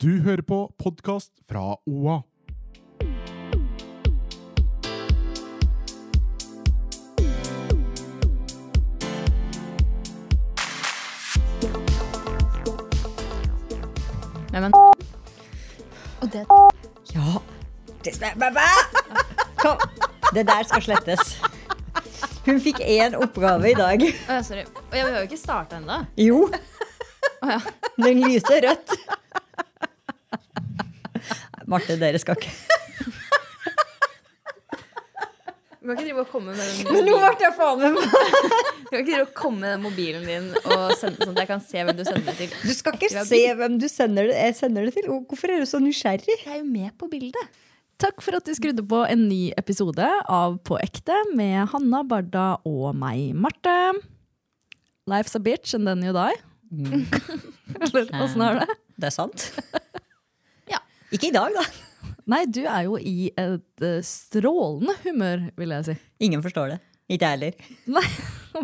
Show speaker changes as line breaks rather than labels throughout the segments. Du hører på podkast fra OA.
Neimen
Og det
Ja. Det, bæ, bæ, bæ. Kom. Det der skal slettes. Hun fikk én oppgave i dag.
Å, ja, Sorry. Å, ja, vi har jo ikke starta ennå.
Jo. Den lyser rødt. Marte, dere skal ikke
Du kan ikke drive og komme med den
Nå ble jeg faen meg
Du kan ikke drive og komme med den mobilen din og sende sånn at jeg kan se hvem du sender det til.
Du skal ikke
Etter
se
vi har begynt.
hvem du sender det, jeg sender det til. Og Hvorfor er du så nysgjerrig?
Jeg er jo med på bildet.
Takk for at du skrudde på en ny episode av På ekte med Hanna Barda og meg, Marte. Life's a bitch and then you die.
Mm.
Eller åssen er det?
Det er sant.
Ja.
Ikke i dag, da.
Nei, du er jo i et eh, strålende humør, vil jeg si.
Ingen forstår det. Ikke jeg heller.
Nei,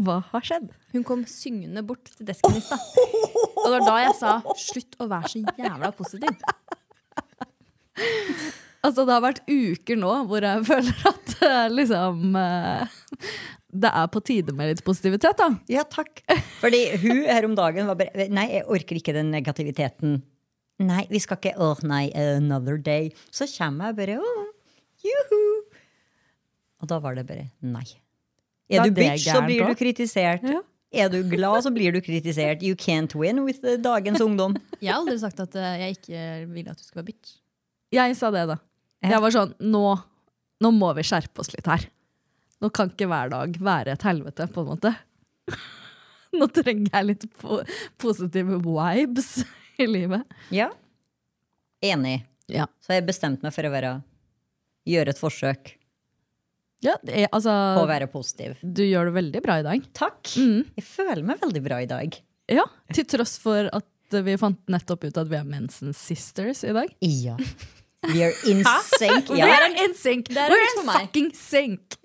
hva har skjedd?
Hun kom syngende bort til desken i stad. Og det var da jeg sa 'slutt å være så jævla positiv'.
Altså, det har vært uker nå hvor jeg føler at eh, liksom eh, Det er på tide med litt positivitet, da.
Ja, takk. Fordi hun her om dagen var bare Nei, jeg orker ikke den negativiteten. Nei, vi skal ikke Åh, nei, another day. Så kommer jeg bare Åh, juhu. Og da var det bare nei. Er
Da er
du
det
bitch, så
gærent
blir du
også.
kritisert. Er du glad, så blir du kritisert. You can't win with eh, dagens ungdom.
Jeg har aldri sagt at eh, jeg ikke ville at du skulle være bitch.
Jeg sa det, da. Jeg var sånn Nå, nå må vi skjerpe oss litt her. Nå kan ikke hver dag være et helvete, på en måte. Nå trenger jeg litt po positive vibes i livet.
Ja. Enig.
Ja.
Så jeg bestemte meg for å være gjøre et forsøk
Ja, det er,
på å
altså
være positiv.
Du gjør det veldig bra i dag.
Takk.
Mm.
Jeg føler meg veldig bra i dag.
Ja, Til tross for at vi fant nettopp ut at vi er Mensen Sisters i dag.
Ja. We are in sync.
We
Ja.
are in sync!
er
We're
litt for
in
meg.
fucking sync!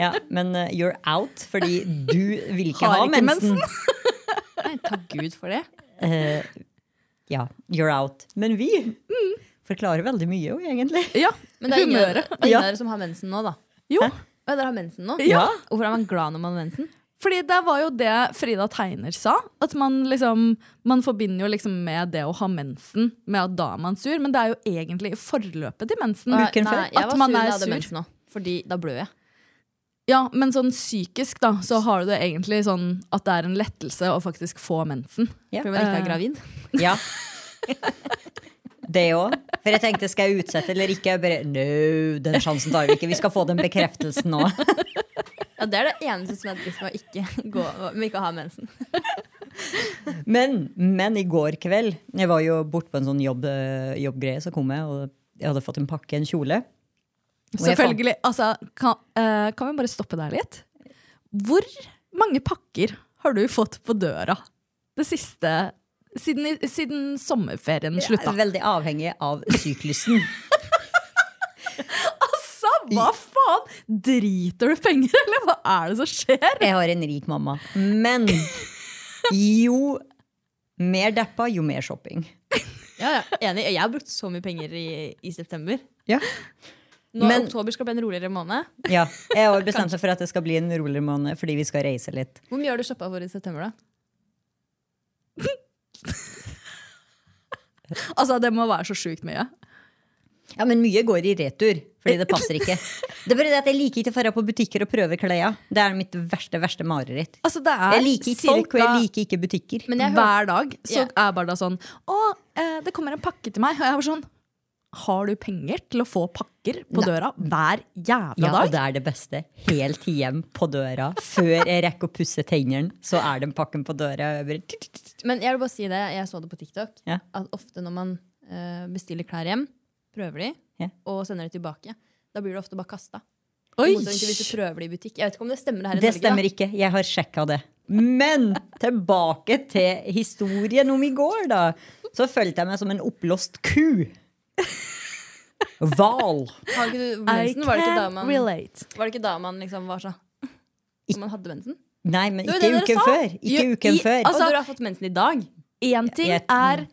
ja, men eh, you're out fordi du vil ikke
Har
ha
ikke
mensen.
Nei, takk Gud for det.
Eh, ja, you're out. Men vi forklarer veldig mye jo, egentlig.
Ja,
Men det er ingen,
humøret.
det er ingen
Ja.
av dere som har mensen nå, da.
Jo,
Å, dere har mensen nå?
Ja.
Hvorfor er man glad når man har mensen?
Fordi det var jo det Frida Tegner sa. At man liksom Man forbinder jo liksom med det å ha mensen med at da er man sur, men det er jo egentlig i forløpet til mensen.
Nei,
Uken før.
nei, jeg
At
var
man
sur da
er
jeg hadde
sur.
mensen nå. Fordi da blør jeg.
Ja, men sånn psykisk, da, så har du det egentlig sånn at det er en lettelse å faktisk få mensen.
Ja.
Fordi man ikke er gravid.
Ja. Det òg. For jeg tenkte skal jeg utsette eller ikke? Jeg bare, no, den sjansen tar vi ikke. Vi skal få den bekreftelsen nå.
Ja, Det er det eneste som er trist med å ikke, gå, med ikke å ha mensen.
Men, men i går kveld, jeg var jo bort på en sånn jobb, eh, jobbgreie, så kom jeg, og jeg hadde fått en pakke, en kjole. Og jeg fant-
Selvfølgelig. Altså, kan, eh, kan vi bare stoppe der litt? Hvor mange pakker har du fått på døra det siste Siden, i- siden sommerferien
Jeg
slutta?
er veldig avhengig av syklusen.
Altså, hva faen? Driter du penger, eller hva er det som skjer?
Jeg har en rik mamma. Men jo mer deppa, jo mer shopping.
Ja, ja, Enig. Jeg har brukt så mye penger i, i september.
Ja.
Nå
Men-
Oktober skal bli en roligere måned.
Ja, jeg har bestemt meg for at det skal bli en roligere måned fordi vi skal reise litt.
Hvor mye har du shoppa for i september, da?
Altså, det må være så sjukt mye.
Ja, Men mye går i retur, fordi det passer ikke. Det er bare det at Jeg liker ikke å dra på butikker og prøve klærne. Det er mitt verste verste mareritt.
Altså, det er
Jeg liker ikke folk, og
cirka
jeg liker ikke butikker.
Men jeg hørte,
hver dag så
Ja.
er bare da sånn Å, eh, det kommer en pakke til meg. Og jeg var sånn Har du penger til å få pakker på døra hver jævla
Ja, og
dag?
det er det beste. Helt hjem på døra. Før jeg rekker å pusse tennene, så er den pakken på døra. og jeg bare-
men jeg vil bare si det, jeg så det på TikTok,
Ja.
at ofte når man eh, eh, bestiller klær hjem, prøver de,
Ja.
og sender de tilbake. Da blir det ofte bare kasta.
Oi!
Hvis du prøver det i butikk. Jeg vet ikke om det stemmer her i
Det
Norge.
stemmer ikke. Jeg har sjekka det. Men tilbake til historien om i går, da. Så følte jeg meg som en oppblåst ku. Hval.
Da. Har ikke du mensen? Var det ikke da man,
relate.
var det ikke da man liksom var sånn Når man hadde mensen?
Nei, men
Det var det
ikke
dere
uken
sa.
før. Ikke
Jo,
uken
i-
før.
Altså, og du har fått mensen i dag?
Én ting
Jeg-
er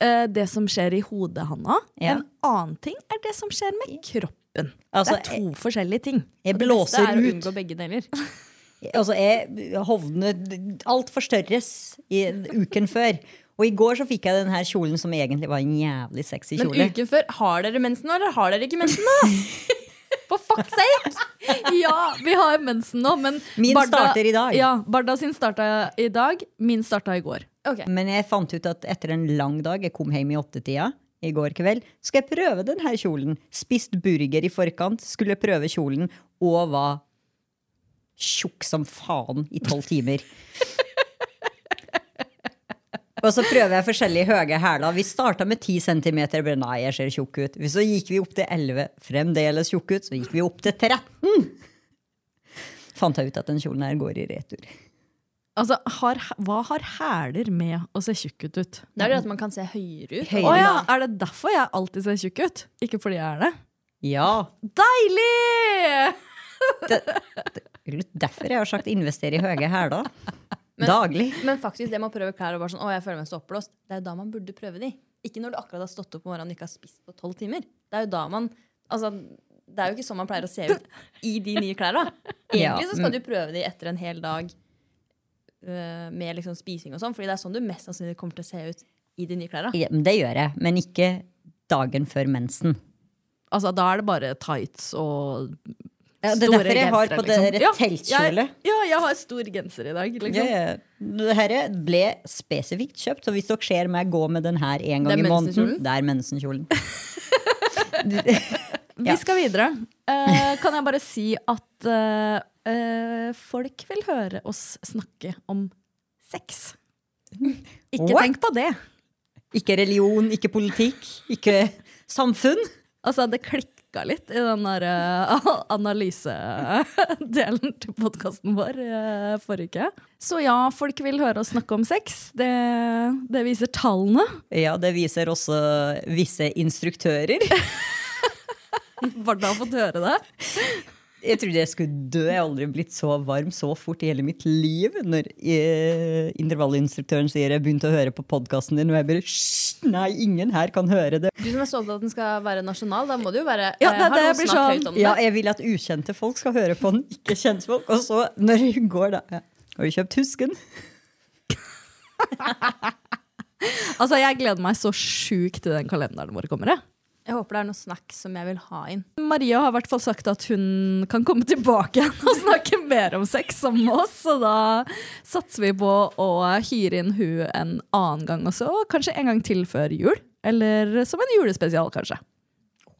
eh, det som skjer i hodet, Hanna.
Ja.
En annen ting er det som skjer med kroppen.
Altså,
det er to forskjellige ting.
Jeg
Det beste
blåser
er å
ut.
unngå begge deler.
Altså, jeg hovnet Alt forstørres i uken før. Og i går så fikk jeg den her kjolen som egentlig var en jævlig sexy
Men
kjole.
uken før, har dere mensen nå, eller har dere ikke mensen nå? For fuck's sake!
Ja, vi har mensen nå, men
Min starter i dag.
Ja, Barda sin starta i dag, min starta i går.
Ok,
Men jeg fant ut at etter en lang dag, jeg kom hjem i åttetida i går kveld, skal jeg prøve den her kjolen. Spist burger i forkant, skulle prøve kjolen, og var tjukk som faen i tolv timer. Og så prøver jeg forskjellige høye hæler. Vi starta med 10 cm. Bare nei, jeg ser tjukk ut. Så gikk vi opp til 11, fremdeles tjukk ut. Så gikk vi opp til 13. Fant jeg ut at den kjolen her går i retur.
Altså, har, Hva har hæler med å se tjukk ut? ut?
Da er det at man kan se høyere ut.
Å ja, Er det derfor jeg alltid ser tjukk ut? Ikke fordi jeg er det?
Ja,
Deilig!
Det er litt derfor jeg har sagt investere i høye hæler. Daglig.
Men faktisk det man prøver klær og bare sånn, å jeg føler meg så oppblåst, det er jo da man burde prøve de. Ikke når du akkurat har stått opp om morgenen og ikke har spist på tolv timer. Det er jo da man, altså, det er jo ikke sånn man pleier å se ut i de nye klærne.
Ja,
Egentlig så
men-
skal du prøve de etter en hel dag øh, med liksom spising og sånn, fordi det er sånn du mest sannsynlig kommer til å se ut i de nye klærne.
Ja, men det gjør jeg, men ikke dagen før mensen.
Altså, Da er det bare tights og
Ja, det er
store
derfor jeg har
gensere,
på det
liksom.
der
Ja,
teltkjole.
Jeg, ja, jeg har stor genser i dag. liksom.
Dette ble spesifikt kjøpt, så hvis dere ser meg gå med den her en
Det
gang
er
i
mensenkjolen?
måneden Det er mensenkjolen. Ja.
Vi skal videre. Eh, kan jeg bare si at eh, eh, folk vil høre oss snakke om sex. Ikke
What?
tenk på det.
Ikke religion, ikke politikk, ikke samfunn.
Altså, det klikka litt i den der eh, analysedelen til podkasten vår eh, forrige uke. Så ja, folk vil høre oss snakke om sex. Det, det viser tallene.
Ja, det viser også visse instruktører.
Varda har fått høre det.
Jeg trodde jeg skulle dø. Jeg har aldri blitt så varm så fort i hele mitt liv. Når eh, intervallinstruktøren sier 'jeg begynte å høre på podkasten din', og jeg bare Hysj! Nei, ingen her kan høre det.
Du som er så opptatt av at den skal være nasjonal, da må du jo være
Ja, det er
eh, har
det
noen
jeg blir
snakket
sånn.
høyt om det?
Ja, jeg vil at ukjente folk skal høre på den, ikke kjente folk. Og så, når hun går, da ja. Har du kjøpt husken?
Altså, Jeg gleder meg så sjukt til den kalenderen vår kommer. Jeg.
Jeg håper det er noe snakk som jeg vil ha inn.
Maria har i hvert fall sagt at hun kan komme tilbake igjen og snakke mer om sex sammen med oss. Så da satser vi på å hyre inn hun en annen gang også. og Kanskje en gang til før jul. Eller som en julespesial, kanskje.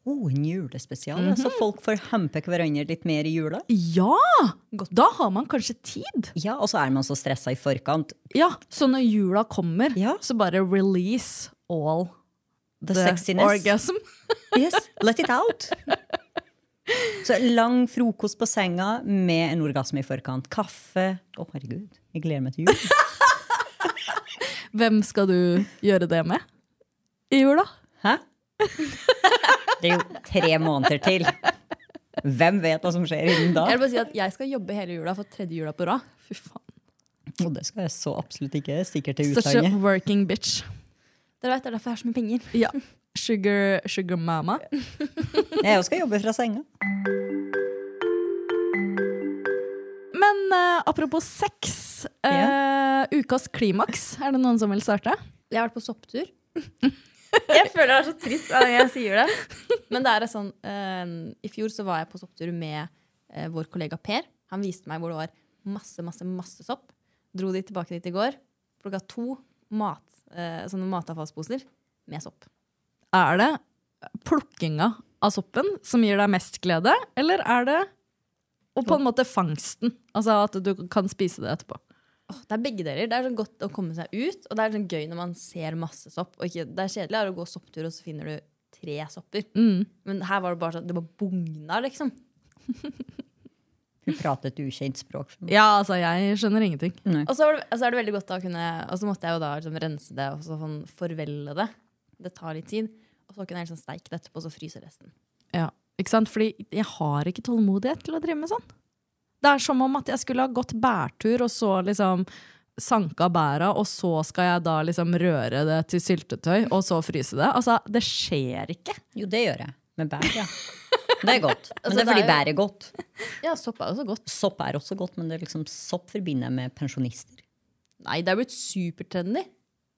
Oh, en julespesial. ja, Så folk får hampe hverandre litt mer i jula.
Ja! Da har man kanskje tid.
Ja, Og så er man så stressa i forkant.
Ja, Så når jula kommer,
Ja.
så bare release all
The,
the
sexiness.
orgasm.
Yes, let it out. Så lang frokost på senga med en orgasme i forkant. Kaffe. Å, herregud. Jeg gleder meg til jul.
Hvem skal du gjøre det med i jula?
Hæ? Det er jo tre måneder til. Hvem vet hva som skjer innen da?
Jeg vil bare si at jeg skal jobbe hele jula for tredje jula på rad.
Fy faen.
Og det skal jeg så absolutt ikke. Jeg Stikker til
Such a
utlandet.
working bitch.
Dere vet, Det er derfor jeg har så mye penger.
Ja. Sugar, sugar mama.
Jeg skal jobbe fra senga.
Men eh, apropos sex. eh, Ukas klimaks, er det noen som vil starte?
Jeg har vært på sopptur. jeg føler det er så trist når jeg sier det. Men det er et sånn eh, I fjor så var jeg på sopptur med eh, vår kollega Per. Han viste meg hvor det var masse, masse, masse sopp. Dro de tilbake dit i går. Plukka to mat, eh, sånne matavfallsposer med sopp.
Er det plukkinga av soppen som gir deg mest glede, eller er det og på en måte fangsten? Altså at du kan spise det etterpå.
Åh, det er begge deler. Det er sånn godt å komme seg ut, og det er sånn gøy når man ser masse sopp. Og ikke, det er kjedelig er å gå sopptur, og så finner du tre sopper.
Mm.
Men her var det bare sånn, det bare bugna, liksom.
Hun pratet ukjent språk. for meg.
Ja, altså, jeg skjønner ingenting.
Og så var det, altså er det veldig godt da å kunne Og så måtte jeg jo da liksom rense det og så sånn forvelle det. Det tar litt tid. Og så kunne jeg liksom steike det etterpå, og så fryse resten.
Ja, ikke sant? Fordi jeg har ikke tålmodighet til å drive med sånn. Det er som om at jeg skulle ha gått bærtur, og så liksom sanka bæra, og så skal jeg da liksom røre det til syltetøy, og så fryse det. Altså, det skjer ikke.
Jo, det gjør jeg. Med bær, ja. Det er godt. Men
Altså,
det er
det
fordi
er jo-
bær er godt.
Ja, sopp er jo så godt.
Sopp er også godt, men det er liksom, sopp forbinder jeg med pensjonister.
Nei, det er blitt supertrendy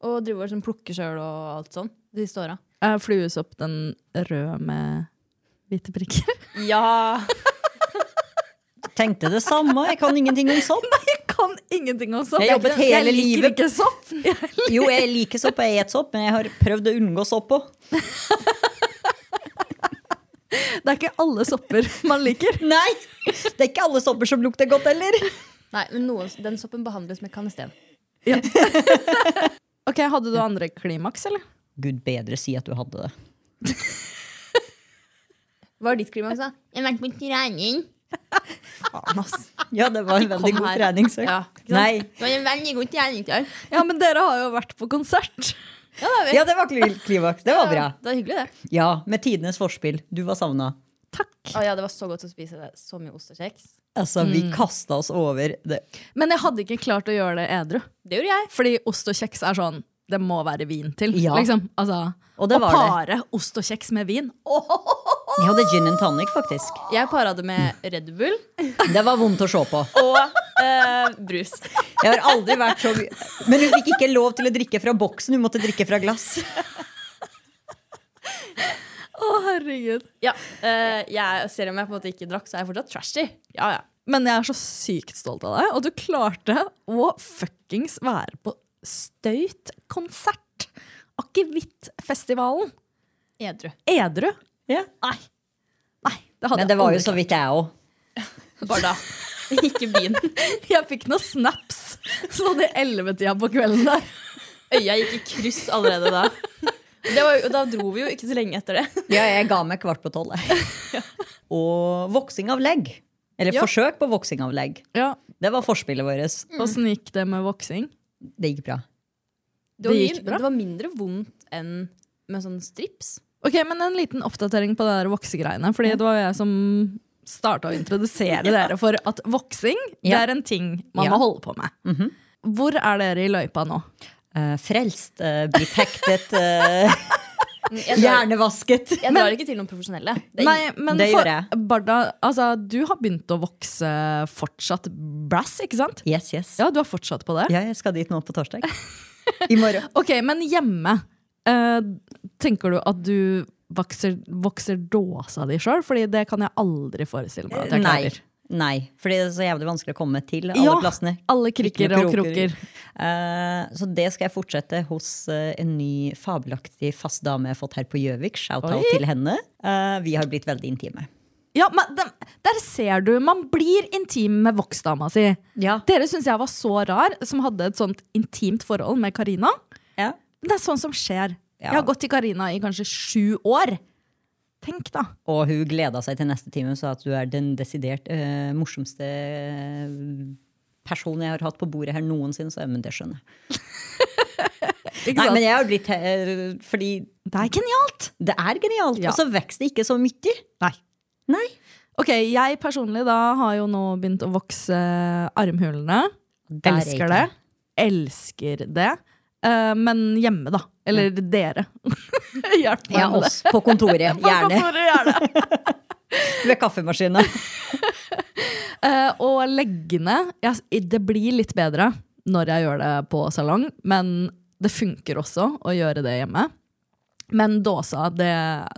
å drive og sånn plukke sjøl og alt sånn de siste åra.
Jeg har fluesopp den røde med hvite prikker.
Ja!
Tenkte det samme, jeg kan ingenting om sopp.
Jeg kan ingenting om sopp.
Jeg jobbet hele
jeg liker
livet-
ikke sopp. Jeg
Jo, jeg liker sopp, jeg et sopp, men jeg har prøvd å unngå sopp òg.
Det er ikke alle sopper man liker.
Nei! Det er ikke alle sopper som lukter godt heller.
Nei, men noen, den soppen behandles med kanesten.
Ok, Hadde du andre klimaks, eller?
Gud bedre si at du hadde det.
Hva er ditt klimaks, da? Jeg har vært på trening. Faen, ass.
Ja, det var en veldig
Kom
god
her.
treningsøkt.
Ja, ikke sant?
Nei.
Det var en veldig god trening. Ja,
Ja, men dere har jo vært på konsert.
det har vi.
Ja, det var kli- klimaks. Det var bra.
Det var hyggelig, det.
Ja, med tidenes forspill. Du var savna.
Takk.
Å, ja, det var så godt å spise det. Så mye ostekjeks.
Altså, vi
Mm.
kasta oss over det.
Men jeg hadde ikke klart å gjøre det edru.
Det gjorde jeg.
Fordi ost og kjeks er sånn Det må være vin til.
Ja.
Liksom. Altså,
Og det
å
var
pare ost og kjeks med vin.
Jeg hadde gin and tonic, faktisk.
Jeg para det med Red Bull
Det var vondt å se på.
og eh, brus.
Jeg har aldri vært så Men hun fikk ikke lov til å drikke fra boksen, hun måtte drikke fra glass.
Å, herregud.
Ja, eh, jeg, selv om jeg på en måte ikke drakk, så er jeg fortsatt trashy. Ja, ja.
Men jeg er så sykt stolt av deg, og du klarte å fuckings være på støytkonsert. Akevittfestivalen.
Edru.
Edru.
Ja.
Nei. Nei, det hadde
Men det var jo
jeg
så vidt jeg òg.
Bare da. Ikke byen.
aldri. Jeg fikk noen snaps sånn i ellevetida på kvelden der.
Øya gikk i kryss allerede da. Det var, jo- og da dro vi jo ikke så lenge etter det.
Ja, jeg ga meg kvart på tolv. jeg. Og voksing av legg. Eller
Ja.
forsøk på voksing av legg.
Ja,
Det var forspillet vårt.
Åssen gikk det med voksing?
Det gikk bra.
Det var,
Det gikk
mye-
bra.
det var mindre vondt enn med sånn strips.
Ok, men En liten oppdatering på det der voksegreiene. Fordi det var jo jeg som starta å introdusere dere for at voksing det
Ja.
er en ting man
Ja.
må holde på med. Hvor er dere i løypa nå?
Eh, frelst, eh, blitt hektet, eh,
Jeg drar,
hjernevasket.
jeg drar ikke til noen profesjonelle. Det er
Nei, men
det
for,
gjør jeg.
Barda, altså, du har begynt å vokse fortsatt brass, ikke sant?
Yes, yes.
Ja, du har fortsatt på det?
Ja, jeg skal dit nå på torsdag. I morgen.
Ok, men hjemme, eh, tenker du at du vokser, vokser dåsa di sjøl? Fordi det kan jeg aldri forestille meg at jeg
Nei.
klarer.
Nei, for det er så jævlig vanskelig å komme til alle
Ja,
plassene.
Alle krikker og
Kroker.
kroker.
Eh, så det skal jeg fortsette hos eh, en ny fabelaktig fast dame jeg har fått her på Gjøvik. Shout-out
Oi.
til henne. Eh, vi har blitt veldig intime.
Ja, men dem- Der ser du, man blir intim med voksdama si.
Ja.
Dere syns jeg var så rar som hadde et sånt intimt forhold med Karina.
Ja.
Men Det er sånn som skjer.
Ja.
Jeg har gått til Karina i kanskje sju år. Tenk, da.
Og hun gleda seg til neste time og sa at du er den desidert eh, morsomste eh, personen jeg har hatt på bordet her noensinne. Så jeg, men det skjønner jeg. Nei, men jeg har blitt eh, Fordi
Det er genialt!
det er genialt.
Ja.
Og så vokser det ikke så mye.
Nei.
Nei.
Ok, jeg personlig da har jo nå begynt å vokse armhulene.
Der er jeg
Elsker det.
ikke.
Elsker det. Eh, men hjemme, da. Eller dere. Hjelp meg
Ja,
med det.
oss på kontoret. Gjerne.
Hvor er det?
Ved kaffemaskina.
Eh, og leggene jeg, Det blir litt bedre når jeg gjør det på salong, men det funker også å gjøre det hjemme. Men dåsa, det,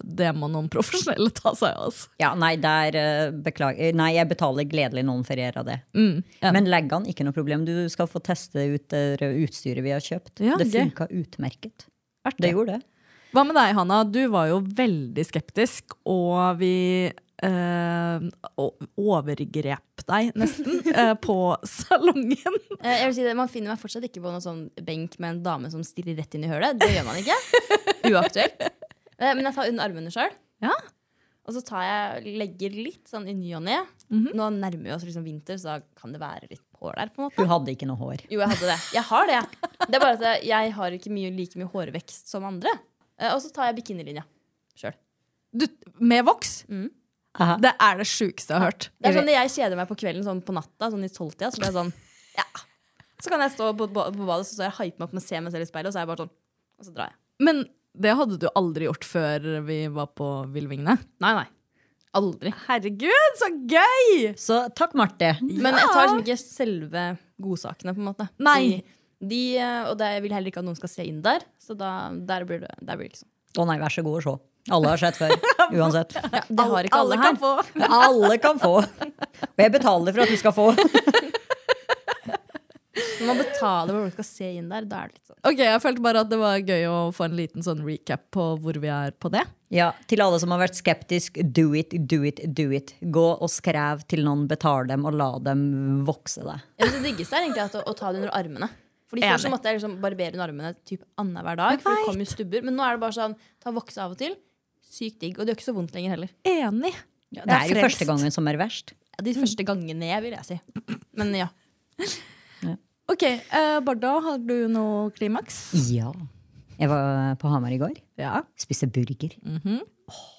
det må noen profesjonelle ta seg av. Altså.
Ja, nei, der eh, beklager Nei, jeg betaler gledelig noen ferier av det.
ja.
Men leggene, ikke noe problem. Du skal få teste ut det røde utstyret vi har kjøpt.
Ja,
det
gøy.
funka utmerket. Det gjorde det.
Hva med deg, Hanna? Du var jo veldig skeptisk, og vi eh, o- overgrep deg, nesten, eh, på salongen.
Eh, Jeg vil si det, Man finner meg fortsatt ikke på noen sånn benk med en dame som stirrer rett inn i hølet. Det gjør man ikke. Uaktuelt. Eh, Men jeg tar under armene sjøl.
Ja.
Og så tar jeg, legger litt sånn i ny og ne. Nå nærmer vi oss liksom vinter, så da kan det være litt hår der. på en måte.
Hun hadde ikke noe hår.
Jo, jeg hadde det. Jeg har det. Det er bare at jeg- jeg har ikke mye, like mye hårvekst som andre. Eh, Og så tar jeg bikinilinja sjøl.
Du, med voks?
Aha.
Det er det sjukeste jeg har hørt.
Mm. Det er sånn Når jeg kjeder meg på kvelden sånn på natta, sånn i tolvtida, så blir jeg sånn ja. Så kan jeg stå på, på, på badet så står jeg og hyper meg opp med å se meg selv i speilet, og så er jeg bare sånn. Og så drar jeg.
Men det hadde du aldri gjort før vi var på Villvingene? Nei, nei. Aldri. Herregud, så gøy!
Så takk, Marte.
Men jeg tar liksom ikke selve godsakene, på en måte.
Nei.
De, de, eh, og det, jeg vil heller ikke at noen skal se inn der, så da, der blir det, der blir det ikke sånn.
Å nei, vær så god å se. Alle har sett før. Uansett.
Det har ikke alle,
kan
her.
få.
Alle kan få. Og jeg betaler for at du skal få.
Når man betaler for folk skal se inn der, da er det litt sånn.
Ok, Jeg følte bare at det var gøy å få en liten sånn recap på hvor vi er på det.
Ja, Til alle som har vært skeptisk, do it, do it, do it. Gå og skrev til noen, betal dem og la dem vokse deg.
Jeg synes det diggeste er egentlig at å, å ta det under armene. Fordi Før så måtte jeg liksom barbere under armene typ annenhver dag, for det kom jo stubber. Men nå er det bare sånn, ta vokse av og til. Sykt digg. Og det gjør ikke så vondt lenger heller.
Enig.
Det er jo første gangen som er verst.
Ja, de første gangene, vil jeg si. Men ja.
Ok, eh, Barda, har du noe klimaks?
Ja. Jeg var på Hamar i går.
Ja.
Spiste burger.
Mhm.
Åh,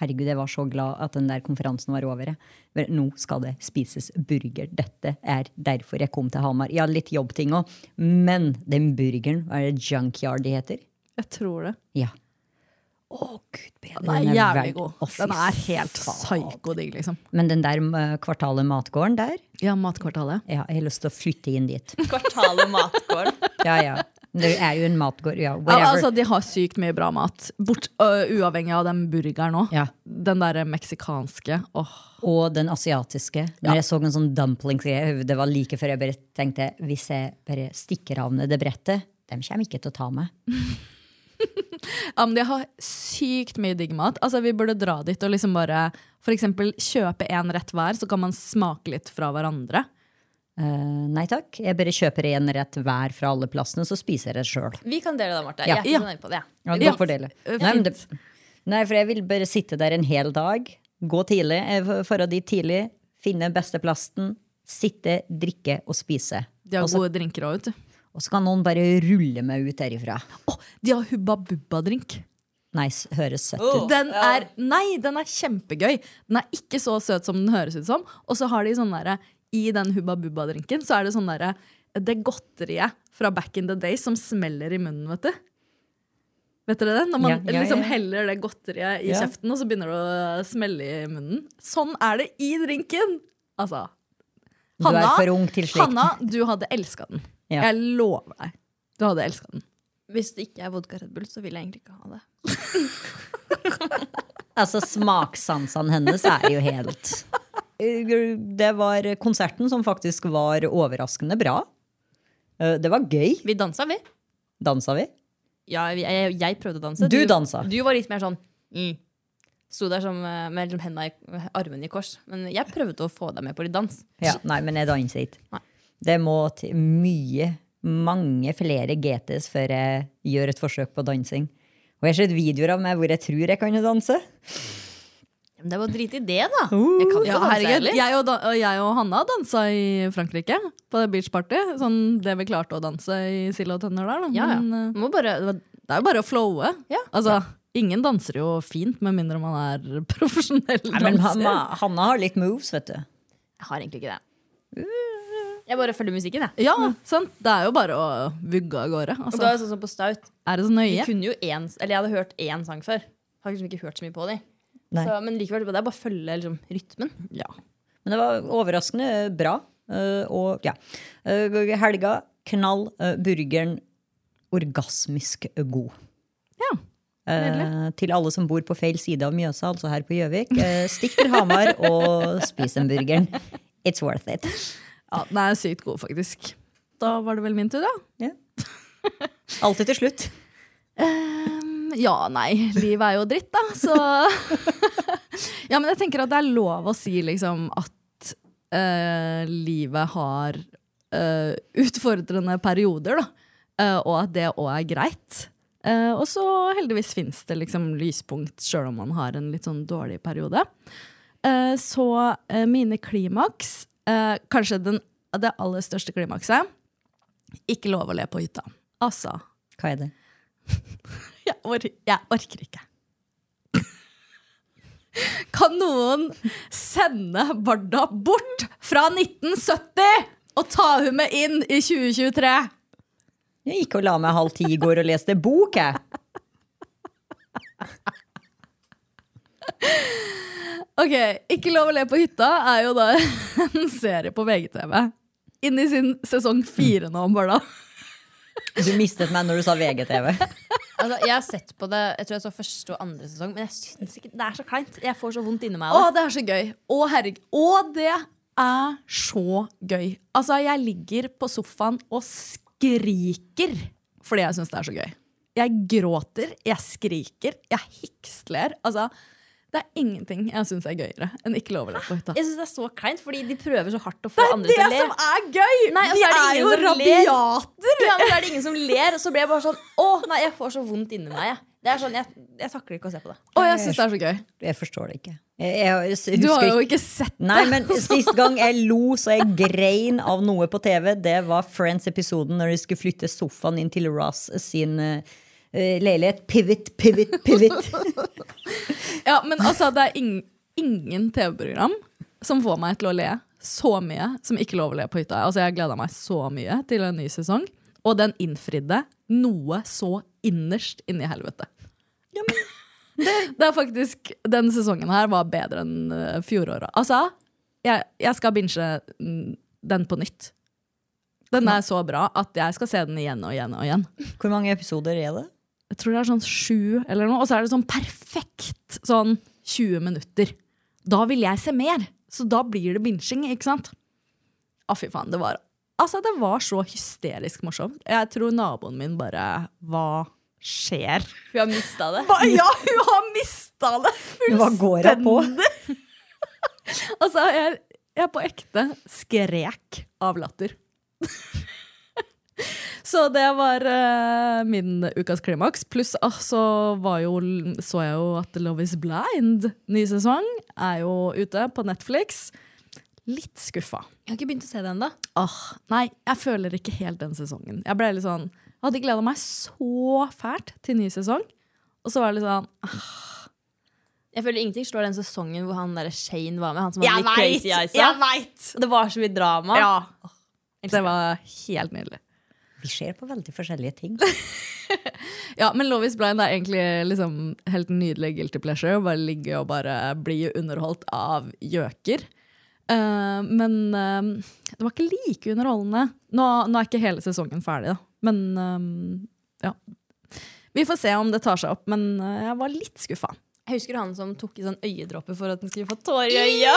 herregud, jeg var så glad at den der konferansen var over. jeg. For Nå skal det spises burger. Dette er derfor jeg kom til Hamar. Jeg hadde litt jobbting òg, men den burgeren, hva er det junkyard de heter?
Jeg tror det.
Ja. Å, gud bedre.
Den er jævlig god. Den er helt
syk.
psyko digg, liksom.
Men den der eh, kvartalet matgården der,
Ja, Matkvartalet.
ja, jeg har lyst til å flytte inn dit.
Kvartalet matgård.
Ja, ja. Det er jo en matgård. Ja,
Al
whatever.
altså, De har sykt mye bra mat. Bort, ø, uavhengig av den burgeren òg.
Ja.
Den derre meksikanske. Åh.
Og den asiatiske. Når jeg så en sånn dumplings Det var like før jeg bare tenkte hvis jeg bare stikker av ned det brettet, dem kommer ikke til å ta meg.
Ja, men de har sykt mye digg mat. Altså, vi burde dra dit og liksom bare for eksempel, kjøpe én rett hver, så kan man smake litt fra hverandre.
Eh, nei takk. Jeg bare kjøper én rett hver fra alle plassene, så spiser jeg det sjøl.
Vi kan dele det, Marte.
Ja.
Jeg er ikke så nøye på det. jeg.
Ja,
Ja,
godt fordele.
fint.
Nei, men det, nei, for jeg vil bare sitte der en hel dag. Gå tidlig, eh, dra dit tidlig, finne beste plassen. Sitte, drikke og spise.
De har
Og så-
gode drinker òg, vet du.
og så kan noen bare rulle meg ut derifra.
Åh, de har Hubba Bubba-drink.
Nice, høres søtt ut.
Den er, nei, den er kjempegøy. Den er ikke så søt som den høres ut som. Og så har de sånn derre I den Hubba Bubba-drinken så er det sånn derre Det godteriet fra back in the day som smeller i munnen, vet du. Vet dere det? Når man
Ja, ja,
liksom
ja.
heller det godteriet i
Ja.
kjeften, og så begynner det å smelle i munnen. Sånn er det i drinken! Altså.
Du er for ung til slikt.
Hanna, du hadde elska den.
Ja.
Jeg lover deg. Du hadde elska den.
Hvis det ikke er vodka Red Bull, så vil jeg egentlig ikke ha det.
Altså Smakssansene hennes er jo helt Det var konserten som faktisk var overraskende bra. Eh, Det var gøy.
Vi dansa, vi.
Dansa vi?
Ja, vi- jeg, jeg prøvde å danse.
Du dansa.
Du var litt mer sånn mm. Sto der som, eh, med liksom hendene i, med armene i kors. Men jeg prøvde å få deg med på litt dans.
Ja, nei, men jeg danset ikke.
Nei.
Det må til mye, mange flere GTs før jeg gjør et forsøk på dansing. Og jeg har sett videoer av meg hvor jeg tror jeg kan danse.
Men det var drit i det, da.
Uh.
Jeg kan ikke
Ja,
danse
herregud.
heller.
Jeg og, da, og jeg og Hanna dansa i Frankrike på det beach party. Sånn det vi klarte å danse i Sild og Tønner der. da.
Ja, ja.
Men, eh,
Må bare, det var,
det er jo bare å flowe.
Ja.
Altså, Ingen danser jo fint med mindre man er profesjonell
Nei, men
danser.
Hanna, Hanna har litt moves, vet du.
jeg har egentlig ikke det. Jeg bare følger musikken, jeg.
Ja, sant? Det er jo bare å vugge av gårde.
Og da
Altså,
er det sånn som på Staut.
er det så
Vi
nøye?
kunne jo én, eller jeg hadde hørt én sang før. Har liksom ikke hørt så mye på dem.
Nei.
Så, men likevel, det er bare å følge liksom, rytmen.
Ja.
Men det var overraskende bra. eh, og ja. Eh, helga, knall. eh, burgeren orgasmisk god.
Ja,
Eh, til alle som bor på feil side av Mjøsa, altså her på Gjøvik, eh, stikk til Hamar og spis den burgeren. It's worth it.
ja, Den er sykt god, faktisk. Da var det vel min tur, da.
Alltid til slutt.
Ja, nei. Livet er jo dritt, da. Så Ja, men jeg tenker at det er lov å si liksom at eh, livet har eh, utfordrende perioder, da. Eh, og at det òg er greit. Eh, og så heldigvis fins det liksom lyspunkt sjøl om man har en litt sånn dårlig periode. Eh, så eh, mine klimaks, eh, kanskje den, det aller største klimakset, ikke lov å le på hytta. Altså,
Hva er det?
jeg, or jeg orker ikke. Kan noen sende Barda bort fra 1970 og ta hun med inn i 2023?
Jeg gikk og la meg halv ti i går og leste bok, jeg.
Ok, Ikke lov å le på hytta er jo da en serie på VGTV. Inn i sin sesong fire nå om Barda.
Du mistet meg når du sa VGTV.
Altså, jeg har sett på det Jeg tror jeg så første og andre sesong, men jeg synes ikke det er så kleint. Jeg får så vondt inni meg.
Å,
av det.
det er så gøy. Å, herregud. Å, det er så gøy. Altså, jeg ligger på sofaen og skriker fordi jeg syns det er så gøy. Jeg gråter, jeg skriker, jeg hiksler. Altså, det er ingenting jeg syns er gøyere enn ikke lov å le på hytta.
Jeg synes det er så kleint, fordi de prøver så hardt å få andre
Det
til å le.
som er gøy!
Nei, og
Vi
så er
er,
det
jo
ingen som ler.
rabiater!
Ja, men så er det ingen som ler, og så blir jeg bare sånn Å, nei, jeg får så vondt inni meg. Jeg. Det er sånn, jeg, jeg takler ikke å se på det.
Å, jeg syns det er så gøy.
Jeg forstår det ikke. Jeg, jeg, jeg husker
Du har jo
ikke.
ikke sett det.
Nei, men Sist gang jeg lo så jeg grein av noe på TV, det var Friends-episoden når de skulle flytte sofaen inn til Ross sin eh, eh, leilighet. Pivot, pivot, pivot.
Ja, men altså, det er ing- ingen TV-program som får meg til å le så mye som ikke lov å le på hytta. Altså, jeg gleda meg så mye til en ny sesong, og den innfridde noe så innerst inni helvete. det, er faktisk Den sesongen her var bedre enn eh, fjoråret. Altså, jeg, jeg skal binge mm, den på nytt. Den er så bra at jeg skal se den igjen og igjen og igjen
Hvor mange episoder er det?
jeg tror det er sånn sju eller noe, og så er det sånn perfekt sånn 20 minutter. Da vil jeg se mer, så da blir det binsjing, ikke sant? Å, fy faen, det var Altså, det var så hysterisk morsomt. Jeg tror naboen min bare Hva skjer?
Hun har mista det.
Hva? Ja, hun har mista det
Hva går jeg på?
Altså, jeg, jeg på ekte skrek av latter. så det var eh, min ukas klimaks. Pluss ah, så var jo, så jeg jo at Love is blind, ny sesong, er jo ute på Netflix. Litt skuffa.
Jeg har ikke begynt å se det ennå.
Åh, nei, jeg føler ikke helt den sesongen. Jeg ble litt sånn Jeg hadde gleda meg så fælt til ny sesong, og så var det litt sånn
Jeg føler ingenting slår den sesongen hvor han der Shane var med. Han som hadde de crazy eyesa.
veit!
Det var så mye drama.
Ja. Det var helt nydelig.
Vi ser på veldig forskjellige ting.
Ja, men Love is blind er egentlig liksom helt nydelig guilty pleasure. Bare ligge og bare bli underholdt av gjøker. Eh, men eh, det var ikke like underholdende. Nå, nå er ikke hele sesongen ferdig, da. Men eh, ja. Vi får se om det tar seg opp, men eh, jeg var litt skuffa.
Jeg husker han som tok i sånn øyedråper for at han skulle få tårer i øya.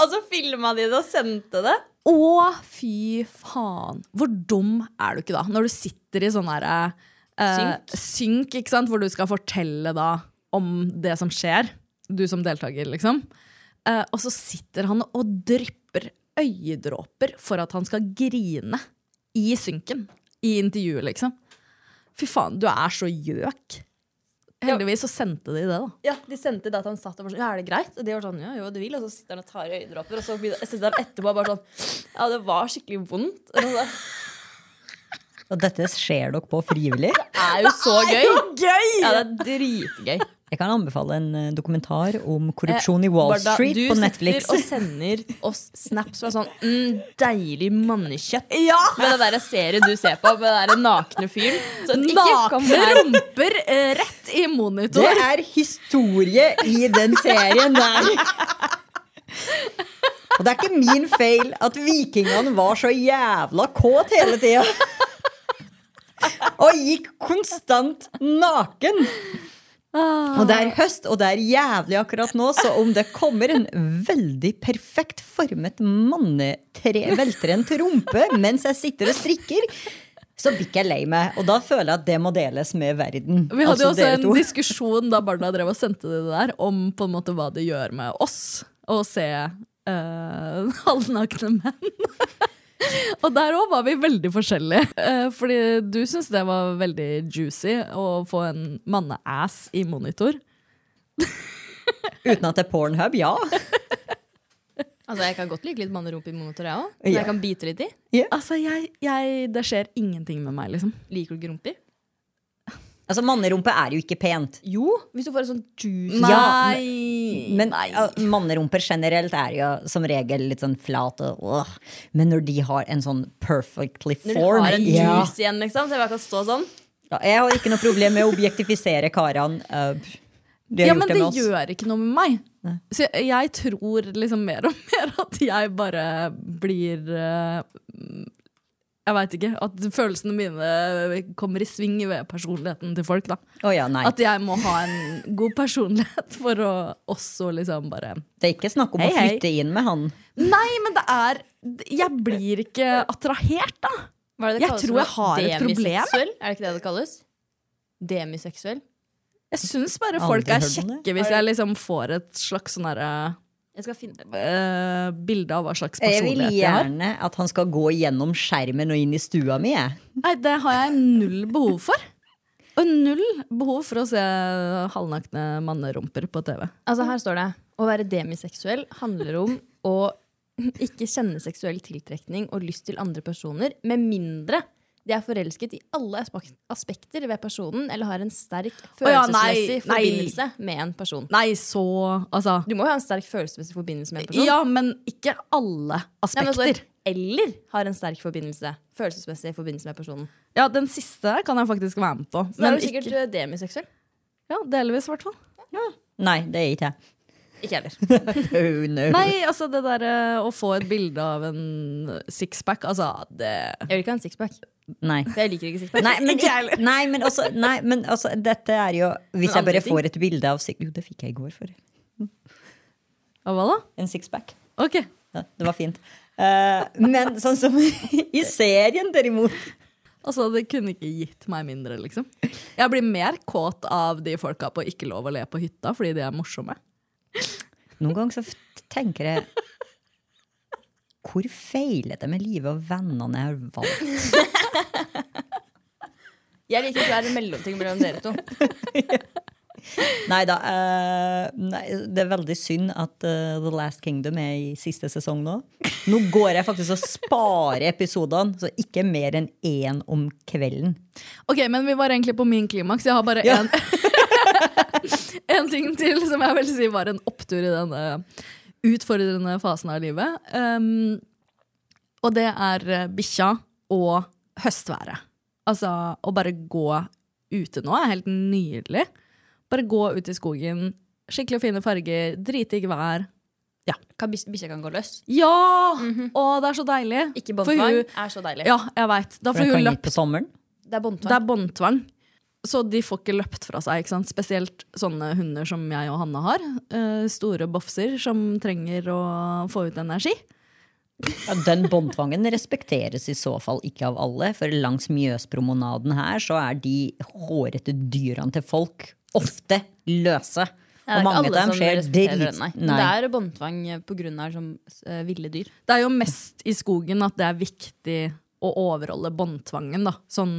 Og så filma de det og sendte det.
Å, fy faen! Hvor dum er du ikke da? Når du sitter i sånn derre eh,
Synk.
synk, ikke sant? Hvor du skal fortelle da om det som skjer. Du som deltaker, liksom. Eh, og så sitter han og drypper øyedråper for at han skal grine i synken. I intervjuet, liksom. Fy faen, du er så gjøk. Heldigvis så sendte de det, da.
Ja, De sendte det at han satt og var sånn Ja, er det greit? Og de var sånn Ja, jo, du vil. Og så sitter han og tar i øyedråper, og så blir det- jeg sitter han etterpå og bare sånn Ja, det var skikkelig vondt. Og så-
Og dette ser dere på frivillig.
Det er jo så gøy!
Gøy!
Ja, det er dritgøy.
Jeg kan anbefale en eh, dokumentar om korrupsjon i Wall
Barda,
Street på Netflix.
Du sitter og sender oss snaps fra sånn mm, deilig mannekjøtt med den der serien du ser på, med den der nakne fyren. Så ikke kom
Nakne
her.
rumper eh, rett i monitor.
Det er historie i den serien der. Og det er ikke min feil at vikingene var så jævla kåt hele tida. Og gikk konstant naken. Og det er høst, og det er jævlig akkurat nå, så om det kommer en veldig perfekt formet mannetre, veltrent rumpe mens jeg sitter og strikker så blir ikke jeg lei meg. Og da føler jeg at det må deles med verden.
Vi hadde
Altså,
jo også
dere
en
to.
diskusjon da barna drev og sendte det der, om på en måte hva det gjør med oss å se eh, halvnakne menn. og der òg var vi veldig forskjellige. Eh, fordi du syntes det var veldig juicy å få en manneass i monitor.
Uten at det er pornhub, ja.
Altså, jeg kan godt like litt mannerump i monitor, jeg òg.
Ja.
Jeg kan bite litt i.
Altså, jeg, jeg, Det skjer ingenting med meg, liksom.
Liker du ikke rumper?
Altså, Mannerumpe er jo ikke pent.
Jo, hvis du får en sånn juicy
Ja,
Nei.
Men ja, mannerumper generelt er jo som regel litt sånn flat og åh. Men når de har en sånn perfectly
Når
form
du har en
ja.
juice igjen, liksom. Så jeg bare kan stå sånn.
Ja, Jeg har ikke noe problem med å objektifisere karene. Uh, de har
Ja,
gjort
men
det
det
med oss.
gjør ikke noe med meg. Så jeg, jeg tror liksom mer og mer at jeg bare blir eh, Jeg veit ikke. At følelsene mine kommer i sving ved personligheten til folk. da.
Å ja, nei.
At jeg må ha en god personlighet for å også liksom bare
Det er ikke snakk om
Hei,
å
hei.
flytte inn med han.
Nei, men det er Jeg blir ikke attrahert, da.
Hva er det det
Jeg
kalles
tror
for
jeg har et problem.
Demiseksuell? Er det ikke det det kalles? Demiseksuell.
Jeg syns bare
Aldri
folk er
hørt om det.
kjekke hvis jeg liksom får et slags sånn herre
Jeg skal finne det.
eh, bilde av hva slags
Jeg vil
personlighet jeg har.
gjerne at han skal gå gjennom skjermen og inn i stua mi. jeg.
Nei, det har jeg null behov for. Og null behov for å se halvnakne mannerumper på TV.
Altså, her står det Å være demiseksuell handler om å ikke kjenne seksuell tiltrekning og lyst til andre personer, med mindre de er forelsket i alle aspek- aspekter ved personen eller har en sterk
ja,
følelsesmessig
nei, nei.
forbindelse med en person.
Nei, så Altså.
Du må jo ha en sterk følelsesmessig forbindelse med en person.
Ja, men ikke alle
Nei, men så-
aspekter.
eller har en sterk forbindelse, følelsesmessig forbindelse med personen.
Ja, Den siste der kan jeg faktisk være med på.
Så da
Men
er du sikkert
ikke,
eh, demiseksuell.
ja, delvis, i hvert fall.
Nei, det er ikke jeg.
Ikke heller.
Oh, no.
Nei, altså det derre å få et bilde av en sixpack, altså det
Jeg vil ikke ha en sixpack.
Nei.
For jeg liker ikke sixpack.
Nei, men, ikke, nei, men, også, nei, men også, dette er jo Hvis
Men
jeg bare
andre ting?
får et bilde av sik- Jo, det fikk jeg i går for
Ja, Hva da?
en sixpack.
Ok.
Ja, det var fint. Eh, men sånn som i serien, derimot
Altså, det kunne ikke gitt meg mindre, liksom. Jeg blir mer kåt av de folka på Ikke lov å le på hytta, fordi de er morsomme.
Noen ganger så f- tenker jeg Hvor feilet det med livet og vennene jeg har valgt?
Jeg liker ikke å være en mellomting mellom dere to.
Nei da. eh, nei, det er veldig synd at eh, The Last Kingdom er i siste sesong nå. Nå går jeg faktisk og sparer episodene, så ikke mer enn én om kvelden.
Ok, men vi var egentlig på min klimaks. Jeg har bare
Ja.
én En ting til som jeg vil si var en opptur i denne utfordrende fasen av livet. Um, og det er eh, bikkja og høstværet. Altså å bare gå ute nå er helt nydelig. Bare gå ut i skogen. Skikkelig fine farger, dritdigg vær.
Kan bis- Bikkja kan gå løs.
Ja! Å, det er så deilig.
Ikke
For hun-
båndtvang. Er så deilig.
Ja, jeg veit. Da
For
får
den
hun
kan gi
løpt
på sommeren.
Det er
det
båndtvang.
er båndtvang. Så de får ikke løpt fra seg. ikke sant? Spesielt sånne hunder som jeg og Hanna har. Eh, store bofser som trenger å få ut energi.
Ja, den båndtvangen respekteres i så fall ikke av alle, for langs Mjøspromenaden her så er de hårete dyrene til folk ofte løse.
Det er
og
ikke
mange
alle
av dem
som
skjer
respekterer
drit...
den, nei. Men
Nei.
Det er båndtvang pga. som eh, ville dyr.
Det er jo mest i skogen at det er viktig å overholde båndtvangen. da. Sånn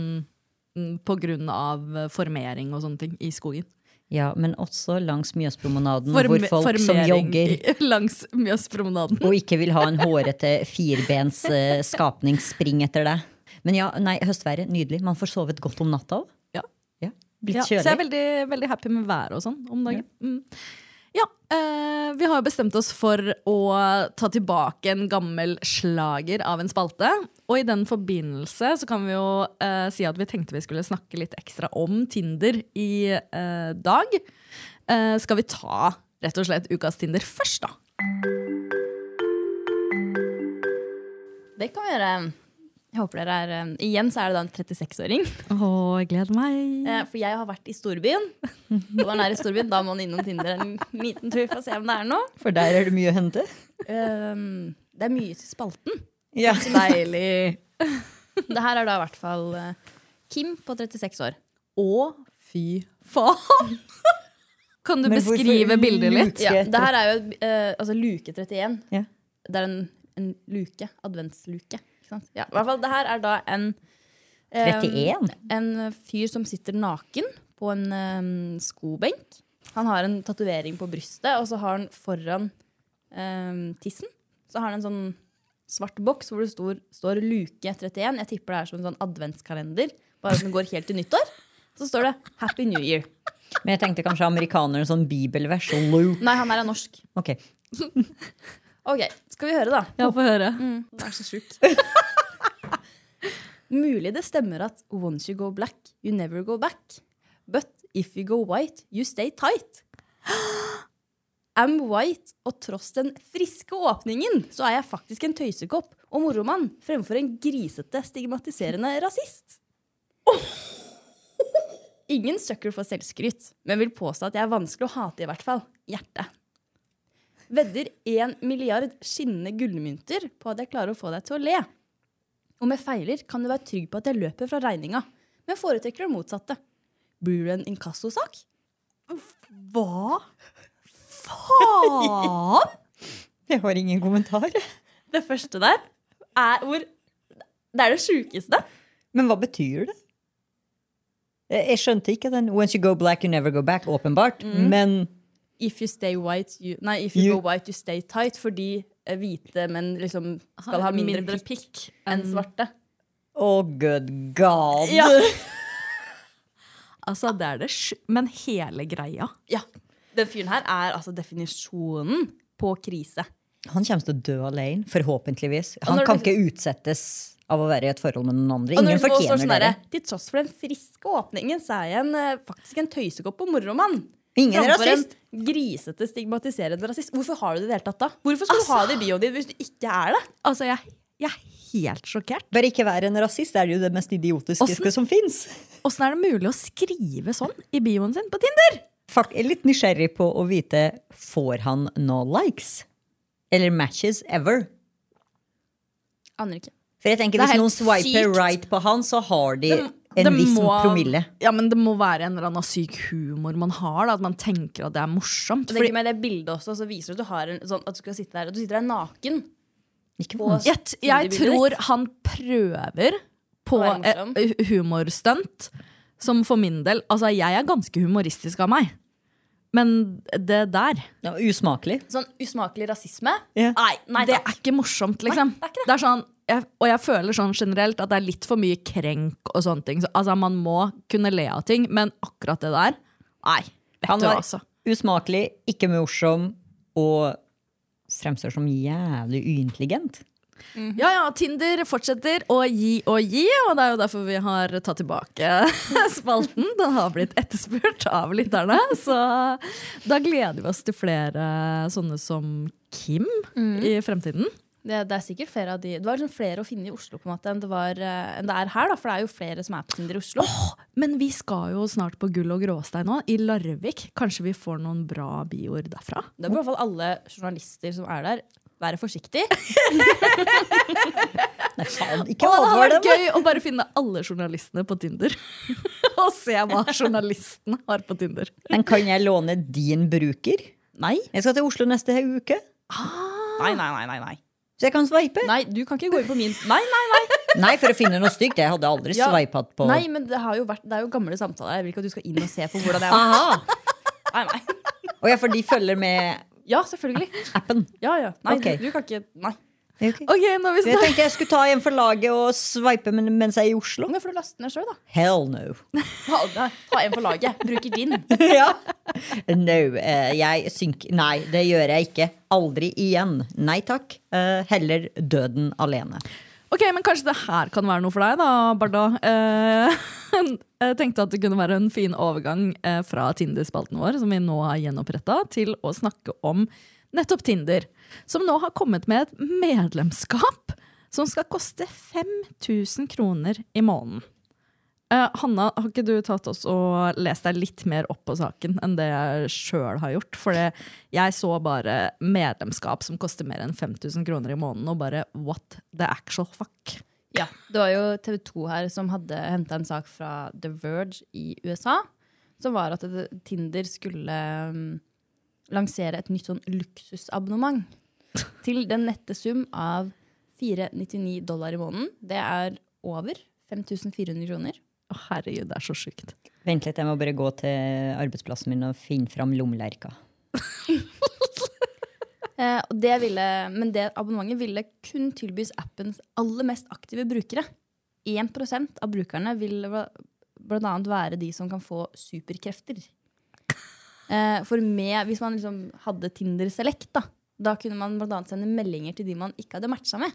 mm, på grunn av eh, formering og sånne ting i skogen.
Ja, men også langs Mjøspromenaden,
Form-
hvor folk som jogger
i- langs Mjøspromenaden.
og ikke vil ha en hårete firbens eh, skapning spring etter deg. Men ja, nei, høstværet, nydelig. Man får sovet godt om natta òg.
Ja.
Ja. Blitt
Ja, så jeg er
kjølig.
veldig, veldig happy med været og sånn om dagen. Mm. Ja, eh, Vi har jo bestemt oss for å ta tilbake en gammel slager av en spalte. Og i den forbindelse så kan vi jo eh, si at vi tenkte vi skulle snakke litt ekstra om Tinder i eh, dag. Eh, skal vi ta rett og slett ukas Tinder først, da?
Det kan vi gjøre. Jeg håper dere er eh, Igjen så er det da en 36-åring.
Å, jeg gleder meg.
Eh, For jeg har vært i storbyen. Og når man er i storbyen, da må man innom Tinder en liten tur for å se om det er noe.
For der er det mye å hente.
Ehm, Eh, Det er mye til spalten.
Ja.
Deilig. Det her er da i hvert fall eh, Kim på 36 år.
Å, fy faen! Kan du
Men hvorfor
beskrive bildet litt?
luke?
Ja, det her er jo eh, altså luke 31.
Ja.
Det er en, en luke. Adventsluke. Ikke sant? Ja, i hvert fall, det her er da en eh,
31?
En fyr som sitter naken på en eh, skobenk. Han har en tatovering på brystet, og så har han foran eh, tissen Så har han en sånn svart boks hvor det står, står luke 31. Jeg tipper det er som en sånn adventskalender, bare som går helt til nyttår. Så står det 'Happy New Year'.
Men jeg tenkte kanskje amerikaneren sånn bibelvers. Luke.
Nei, han her er norsk.
Ok,
Ok, skal vi høre, da.
Ja, få høre.
Det er så sjukt. Mulig det stemmer at once you go black, you never go back. But if you go white, you stay tight. Am white, og tross den friske åpningen, så er jeg faktisk en tøysekopp og moromann fremfor en grisete, stigmatiserende rasist. Ingen søkker for selvskryt, men vil påstå at jeg er vanskelig å hate, i hvert fall. Hjerte. Vedder én milliard skinnende gullmynter på at jeg klarer å få deg til å le. Om jeg feiler, kan du være trygg på at jeg løper fra regninga, men foretrekker det motsatte. Blir det en inkassosak?
Hva faen?
Jeg har ingen kommentar.
Det første der er hvor Det er det sjukeste.
Men hva betyr det? Jeg jeg skjønte ikke den. Once you go black, you never go back. Åpenbart.
Mm.
Men
If you stay white, you Nei, if you,
You-
go white, you stay tight. Fordi eh, hvite menn liksom skal ha mindre, pikk enn svarte.
oh good god!
Ja.
Altså, det er det sj... Men hele greia.
ja. Den fyren her er altså definisjonen på krise.
Han kommer til å dø alene, forhåpentligvis.
Og
Han
når
kan
det-
ikke utsettes av å være i et forhold med noen andre.
Og når det
Ingen
står sånn
fortjener
derre,
det.
Til tross for den friske åpningen, så er jeg en, eh, faktisk en tøysekopp og moromann.
Ingen er
Framfor
rasist!
En grisete, stigmatiserende rasist. Hvorfor har du det i det hele tatt, da? Hvorfor skal du ha det i bioen din hvis du ikke er det?
Altså, jeg, jeg er helt sjokkert.
Bare ikke være en rasist, det er jo det mest idiotiske
Åssen-
som fins.
Åssen er det mulig å skrive sånn i bioen sin på Tinder?
Jeg er litt nysgjerrig på å vite får han no likes. Eller matches ever.
Aner ikke.
For jeg tenker
Det er
Hvis
helt
noen swiper
sykt.
right på han, så har de en
Det
viss
må-
promille.
Ja, men det må være en eller annen syk humor man har. Da, at man tenker at det er morsomt.
Og det er ikke med det bildet også, så viser det at du har en, sånn, at du skal sitte der, og du sitter der naken.
Ikke
På-
vanskelig.
Jeg, jeg tror han prøver på
Å være morsom.
eh, hu- humorstunt. Som for min del Altså, jeg er ganske humoristisk av meg. Men det der
Ja, usmakelig.
Sånn usmakelig rasisme.
Ja.
Nei, nei
Det
takk.
er ikke morsomt, liksom.
Nei, det er ikke det.
er sånn, jeg, og jeg føler sånn generelt at det er litt for mye krenk og sånne ting. Så, altså, man må kunne le av ting, men akkurat det der Nei. Vet
Han
du
var
hva, altså.
usmakelig, ikke morsom og fremstår som jævlig uintelligent.
Mhm.
Ja ja, Tinder fortsetter å gi og gi, og det er jo derfor vi har tatt tilbake spalten. Den har blitt etterspurt av lytterne, så da gleder vi oss til flere sånne som Kim
Mhm.
i fremtiden.
Det, det er sikkert flere av de Det var liksom flere å finne i Oslo på en måte enn det, var, eh, enn det er her, da, for det er jo flere som er på Tinder i Oslo.
Men vi skal jo snart på Gull og gråstein nå, i Larvik. Kanskje vi får noen bra bioer derfra?
Det er i hvert fall alle journalister som er der. Være forsiktig.
Nei, faen,
Å,
ikke
det hadde
advar
vært
dem!
gøy å bare finne alle journalistene på Tinder. og se hva journalisten har på Tinder.
Men kan jeg låne din bruker?
Nei.
Jeg skal til Oslo neste uke,
Nei, nei, nei, nei, nei.
så jeg kan sveipe.
Nei, du kan ikke gå inn på min Nei, nei, nei.
Nei, for å finne noe stygt. Jeg hadde aldri
Ja.
sveipet på
nei men det, har jo vært, det er jo gamle samtaler. Jeg vil ikke at du skal inn og se på hvordan det er.
Aha!
Nei, nei.
Og ja, for de følger med
Ja, selvfølgelig.
appen.
Ja, ja. Nei,
Ah. Ok.
du, du kan ikke Nei.
Ok.
Ok, nå har vi
Jeg
snakket
tenkte jeg skulle ta en for laget og sveipe men- mens jeg er i Oslo.
Nå får du laste ned sjøl, da.
Hell no.
Ha, nei, ta en på laget. Bruker din.
ja. No, eh, jeg synker Nei, det gjør jeg ikke. Aldri igjen. Nei takk. Eh, heller døden alene.
Ok, men kanskje det her kan være noe for deg da, Barda. Eh, jeg tenkte at det kunne være en fin overgang eh, fra Tinder-spalten vår, som vi nå har gjenoppretta, til å snakke om nettopp Tinder. Som nå har kommet med et medlemskap som skal koste 5000 kroner i måneden. Eh, Hanna, har ikke du tatt oss og lest deg litt mer opp på saken enn det jeg sjøl har gjort? For det- jeg så bare medlemskap som koster mer enn 5000 kroner i måneden, og bare what the actual fuck?
Ja, det var jo TV 2 her som hadde henta en sak fra The Verge i USA. Som var at det- Tinder skulle mm, lansere et nytt sånn luksusabonnement. Til den nette sum av 499 dollar i måneden. Det er over 5400 kroner.
Å, herregud, det er så sjukt.
Vent litt, jeg må bare gå til arbeidsplassen min og finne fram lommelerka.
Eh, og det ville, men det abonnementet ville kun tilbys appens aller mest aktive brukere. 1 av brukerne vil bl- blant annet være de som kan få superkrefter. Eh, for med, hvis man liksom hadde Tinder Select, da, da kunne man blant annet sende meldinger til de man ikke hadde matcha med.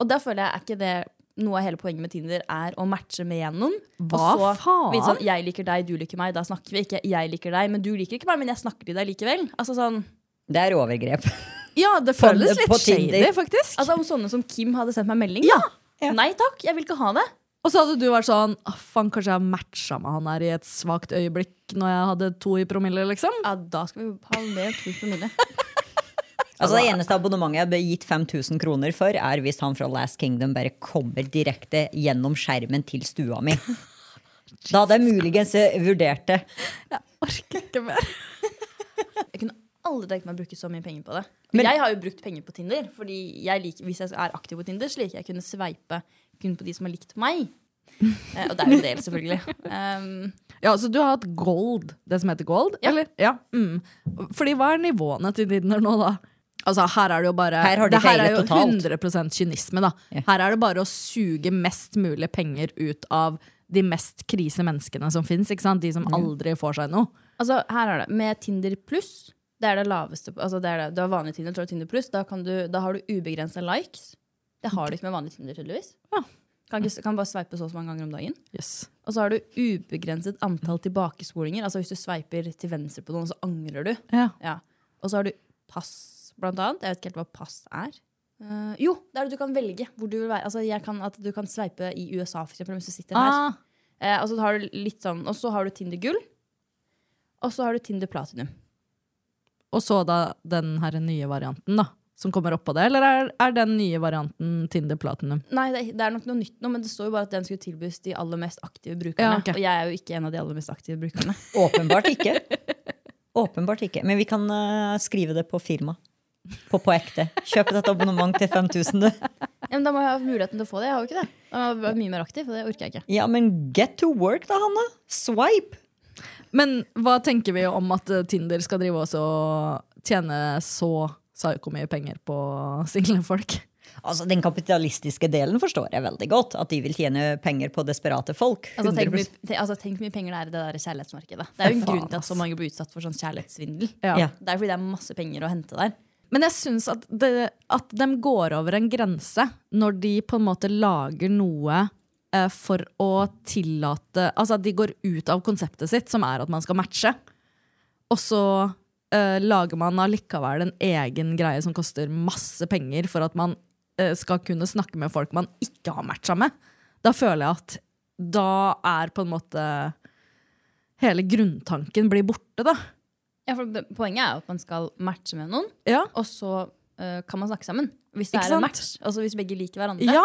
Og da føler jeg er ikke det noe av hele poenget med Tinder er å matche med noen. og
Hva
så,
faen?
vite Sånn, jeg liker deg, du liker meg. Da snakker vi ikke. Jeg liker deg, men du liker ikke meg, men jeg snakker til deg likevel. Altså sånn
Det er overgrep.
Ja, det
På-
føles litt
på Tinder.
shady, faktisk.
Altså Om sånne som Kim hadde sendt meg melding? Ja. Nei takk, jeg vil ikke ha det.
Og så hadde du vært sånn «Å, Faen, kanskje jeg matcha med han her i et svakt øyeblikk når jeg hadde to i promille, liksom.
Ja, Da skal vi ha mer pris på minnet.
Altså Det eneste abonnementet jeg ble gitt 5000 kroner for, er hvis han fra Last Kingdom bare kommer direkte gjennom skjermen til stua mi. Da hadde jeg muligens eh, vurdert det.
Orker ikke mer.
Jeg kunne aldri tenkt meg å bruke så mye penger på det. jeg har jo brukt penger på Tinder. Fordi jeg liker, Hvis jeg er aktiv på Tinder, så liker jeg å kunne sveipe kun på de som har likt meg. Eh, og det er jo en del, selvfølgelig. Um,
Ja, Så du har hatt gold, det som heter gold?
Ja.
Eller? ja. Mm. Fordi hva er nivåene til Tinder nå, da? Altså, her er det jo bare
Her har de
Det her er
feilet
jo
totalt.
100 kynisme, da.
Ja.
Her er det bare å suge mest mulig penger ut av de mest krise menneskene som fins. De som aldri får seg noe.
altså, her er det. Med Tinder pluss, det er det laveste altså, det er det, Du har vanlig Tinder, så har du Tinder pluss. Da, kan du- da har du ubegrensa likes. Det har du ikke med vanlig Tinder, tydeligvis.
Ja.
Kan, ikke, kan bare sveipe så og så mange ganger om dagen.
Yes.
Og så har du ubegrenset antall tilbakespolinger. Altså Hvis du sveiper til venstre på noen, så angrer du.
Ja.
Ja. Og så har du pass, blant annet. Jeg vet ikke helt hva pass er. Eh, jo, det er det du kan velge hvor du vil være. Altså jeg kan, At du kan sveipe i USA, for eksempel, hvis du sitter her.
Ah,
Eh, og, så har du litt sånn, og så har du Tinder gull. Og så har du Tinder platinum.
og så da den her nye varianten, da. Som kommer oppå det, eller er, er den nye varianten Tinder Platinum?
Nei, det, er- det er nok noe nytt nå, men det står jo bare at den skulle tilbys de aller mest aktive brukerne.
Ja, ok.
Og jeg er jo ikke en av de aller mest aktive brukerne.
Åpenbart ikke. Åpenbart ikke. Men vi kan eh, skrive det på firma. På, på ekte. Kjøp et abonnement til 5000, du.
Ja, men da må jeg ha muligheten til å få det. Jeg har jo ikke det. Da må jeg være mye mer aktiv, og det orker jeg ikke.
Ja, men get to work, da, Hanne. Swipe.
Men hva tenker vi om at eh, Tinder skal drive oss og tjene så psyko mye penger på single folk?
Altså, Den kapitalistiske delen forstår jeg veldig godt. At de vil tjene penger på desperate folk.
Altså, tenk,
100%.
mye, te- altså, tenk hvor mye penger det er i det der kjærlighetsmarkedet. Det er jo en
Faen,
grunn til at så mange blir utsatt for sånn kjærlighetssvindel.
Ja.
Ja.
Det er fordi det er masse penger å hente der.
Men jeg syns at, det, at de går over en grense når de på en måte lager noe eh, for å tillate Altså at de går ut av konseptet sitt, som er at man skal matche. Og så eh, lager man allikevel en egen greie som koster masse penger for at man eh, skal kunne snakke med folk man ikke har matcha med. Da føler jeg at da er på en måte Hele grunntanken blir borte, da.
Ja, for det, poenget er jo at man skal matche med noen,
Ja.
og så eh, kan man snakke sammen. Hvis det
Ikke
er en
sant?
match. Altså hvis begge liker hverandre.
ja.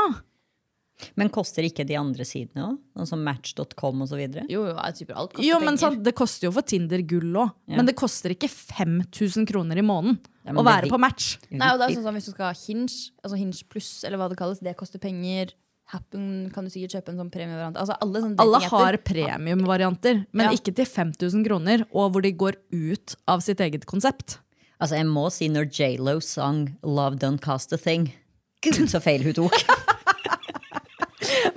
Men koster ikke de andre sidene òg? Sånn som match.com osv.?
Jo, jo, sånn- jeg typer alt koster
Jo, men
penger.
sant, Det koster jo for Tinder gull òg, men det koster ikke 5000 kroner i måneden
Ja, men
å
det
være
vi-
på match.
Nei, og det er sånn som Hvis du skal ha Hinge, altså Hinge pluss, eller hva det kalles, det koster penger. Happen kan du sikkert kjøpe en sånn premievariant. Altså, alle sånne
Alle
datingapper-
har premiumvarianter, men
Ja.
ikke til 5000 kroner, og hvor de går ut av sitt eget konsept.
Altså, jeg må si når J.Lo sang 'Love Don't Cast A Thing'. Gud, så feil hun tok!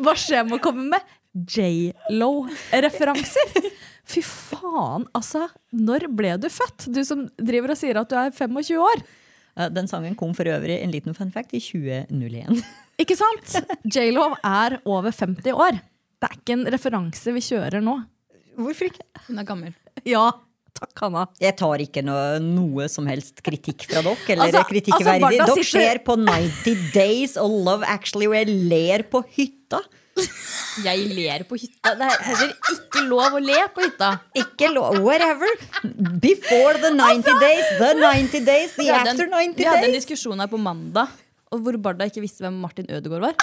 Hva skjer med å komme med J.Lo-referanser? Fy faen, altså. Når ble du født? Du som driver og sier at du er 25 år.
Eh, Den sangen kom for øvrig, en liten fun fact, i 2001.
Ikke sant? J.Lo er over 50 år. Det er ikke en referanse vi kjører nå.
Hvorfor ikke?
Hun er gammel.
Ja, takk, Hanna.
Jeg tar ikke noe, noe som helst kritikk fra dere. Eller
Altså,
kritikkverdig.
altså, Barda
dere
sitter-
ser på 90 Days og Love Actually, og jeg ler på hytta.
Jeg ler på hytta. Det er heller ikke lov å le på hytta.
Ikke lov Whatever. Before the
Altså-
90 days, the 90 days, the
Vi hadde en-
after 90
Vi hadde en
days.
diskusjon her på mandag og hvor Barda ikke visste hvem Martin Ødegaard var.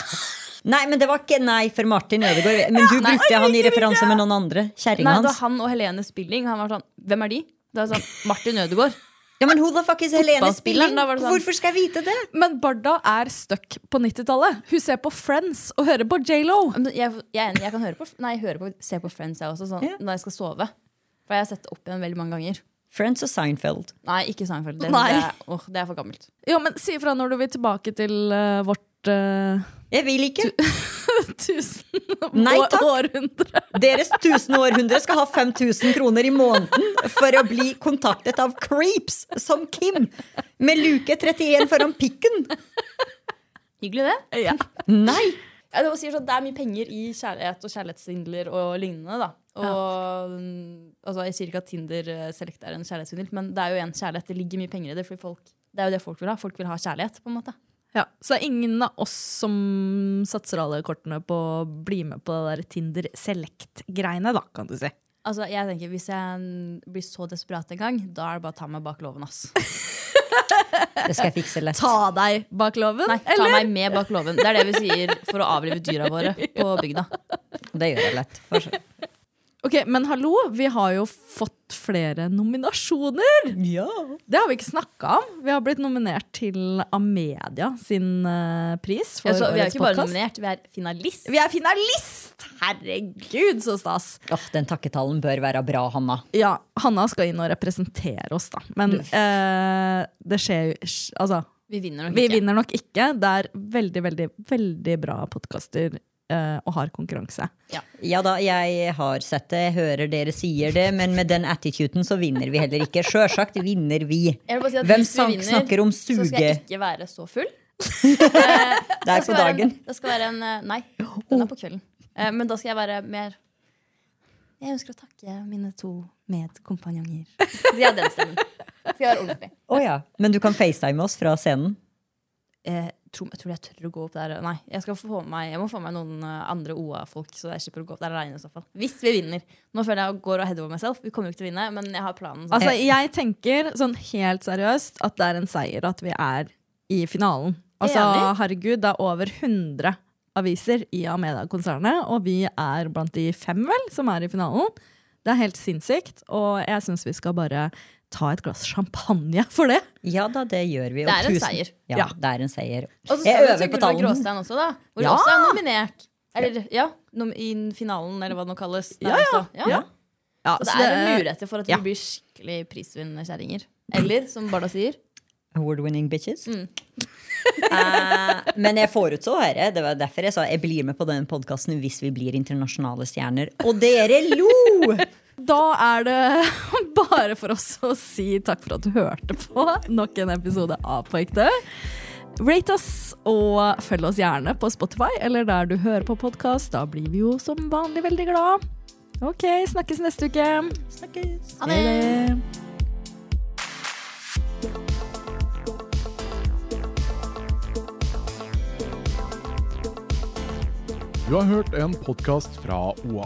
Nei, men det var ikke nei for Martin Ødegaard. Men du brukte han i referanse med noen andre.
Nei,
Kjerringa
da
hans.
han og Helene Spilling, han var sånn Hvem er de? Da er jeg sånn, Martin Ødegaard.
Ja, men who the fuck is Helene
Fotballspilleren,
Spilling?
da var det sånn.
Hvorfor skal jeg vite det?
Men Barda er stuck på 90-tallet. Hun ser på Friends og hører på J.Lo.
Men Jeg, jeg, er enig, jeg kan høre på, nei, jeg hører på, se på Friends jeg også, sånn,
Ja.
når jeg skal sove. For jeg har sett det opp igjen veldig mange ganger.
Friends og Seinfeld.
Nei, ikke Seinfeld. Det,
Nei.
Det, er, åh, det er for gammelt.
Ja, men si ifra når du vil tilbake til eh, vårt eh,
Jeg vil ikke.
tusen
Nei,
å-
takk.
århundre.
Deres 1000 århundre skal ha 5000 kroner i måneden for å bli kontaktet av creeps som Kim med luke 31 foran pikken.
Hyggelig, det.
Nei!
Ja, det, var sier sånn, det er mye penger i kjærlighet og kjærlighetssvindler og lignende. Da. Og, mm, altså, jeg sier ikke at Tinder eh, Select er en kjærlighetssvindel, men det er jo en kjærlighet. Det ligger mye penger i det. Fordi folk, det er jo det folk vil ha. Folk vil ha kjærlighet. på en måte.
Ja, så det er ingen av oss som satser alle kortene på å bli med på det der Tinder Select-greiene, da, kan du si.
Altså, jeg tenker, Hvis jeg mm, blir så desperat en gang, da er det bare å ta meg bak låven. ass.
Det skal jeg fikse lett.
Ta deg bak loven,
Nei, ta meg med bak låven. Det er det vi sier for å avlive dyra våre på bygda.
Det gjør jeg lett. Fortsett.
Ok, Men hallo, vi har jo fått flere nominasjoner! Det har vi ikke snakka om. Vi har blitt nominert til Amedia sin eh, pris. For
Ja, så vi er
årets
jo ikke bare
podcast.
nominert, vi er finalist.
Vi er finalist! Herregud, så stas!
Åh, den takketalen bør være bra, Hanna.
Ja, Hanna skal inn og representere oss, da. Men eh, det skjer jo Altså,
Vi vinner nok
vi
ikke.
vinner nok ikke. Det er veldig, veldig, veldig bra podkaster eh, og har konkurranse.
Ja da, jeg har sett det, jeg hører dere sier det, men med den attituden så vinner vi heller ikke. Sjølsagt vinner vi.
Jeg vil bare si at
Hvem
hvis vi
sank-
vinner,
snakker om
Så skal jeg
suge
ikke være så full. Eh,
der
Det skal
på
være
dagen?
En, det skal være en eh, Nei, den er på kvelden. Eh, Men da skal jeg være mer Jeg ønsker å takke mine to medkompanjonger. De har den stemmen. Skal jeg være ordentlig.
Å ja. Men du kan facetime oss fra scenen.
Eh, tror, jeg tror jeg tør å gå opp der. Nei, jeg, skal få meg, jeg må få meg noen eh, andre OA-folk. Så jeg slipper å gå opp der alene i så fall. Hvis vi vinner. Nå føler jeg jeg går og header over meg selv. Vi kommer jo ikke til å vinne, men jeg har planen. sånn.
Altså, jeg tenker sånn helt seriøst at det er en seier at vi er i finalen. Altså,
Enig.
herregud, det er over 100 aviser i Amedia-konsernet, og vi er blant de fem, vel, som er i finalen. Det er helt sinnssykt, og jeg syns vi skal bare ta et glass champagne for det.
Ja da, det gjør vi.
Det
og
er en
tusen-
seier.
Ja,
Ja.
det er en seier.
Og så
Jeg
skal vi
øver
til
på
Gulva
tallene.
Gråstein også, da. Hvor
Ja!
ja! også er nominert. Eller ja, nom i finalen, eller hva det nå kalles. Der også. ja.
ja. Ja,
Så det
så
er
Altså, det-
muligheter for at vi
ja.
blir skikkelig prisvinnende kjerringer. Eller som Barda sier.
Award-winning bitches.
Mm.
Eh, men jeg forutså dette. Det var derfor jeg sa jeg blir med på den podkasten hvis vi blir internasjonale stjerner. Og dere lo!
Da er det bare for oss å si takk for at du hørte på nok en episode av På ekte. Rate oss og følg oss gjerne på Spotify eller der du hører på podkast. Da blir vi jo som vanlig veldig glad. OK, snakkes neste uke.
Snakkes.
Ha det.
Du har hørt en podkast fra OA.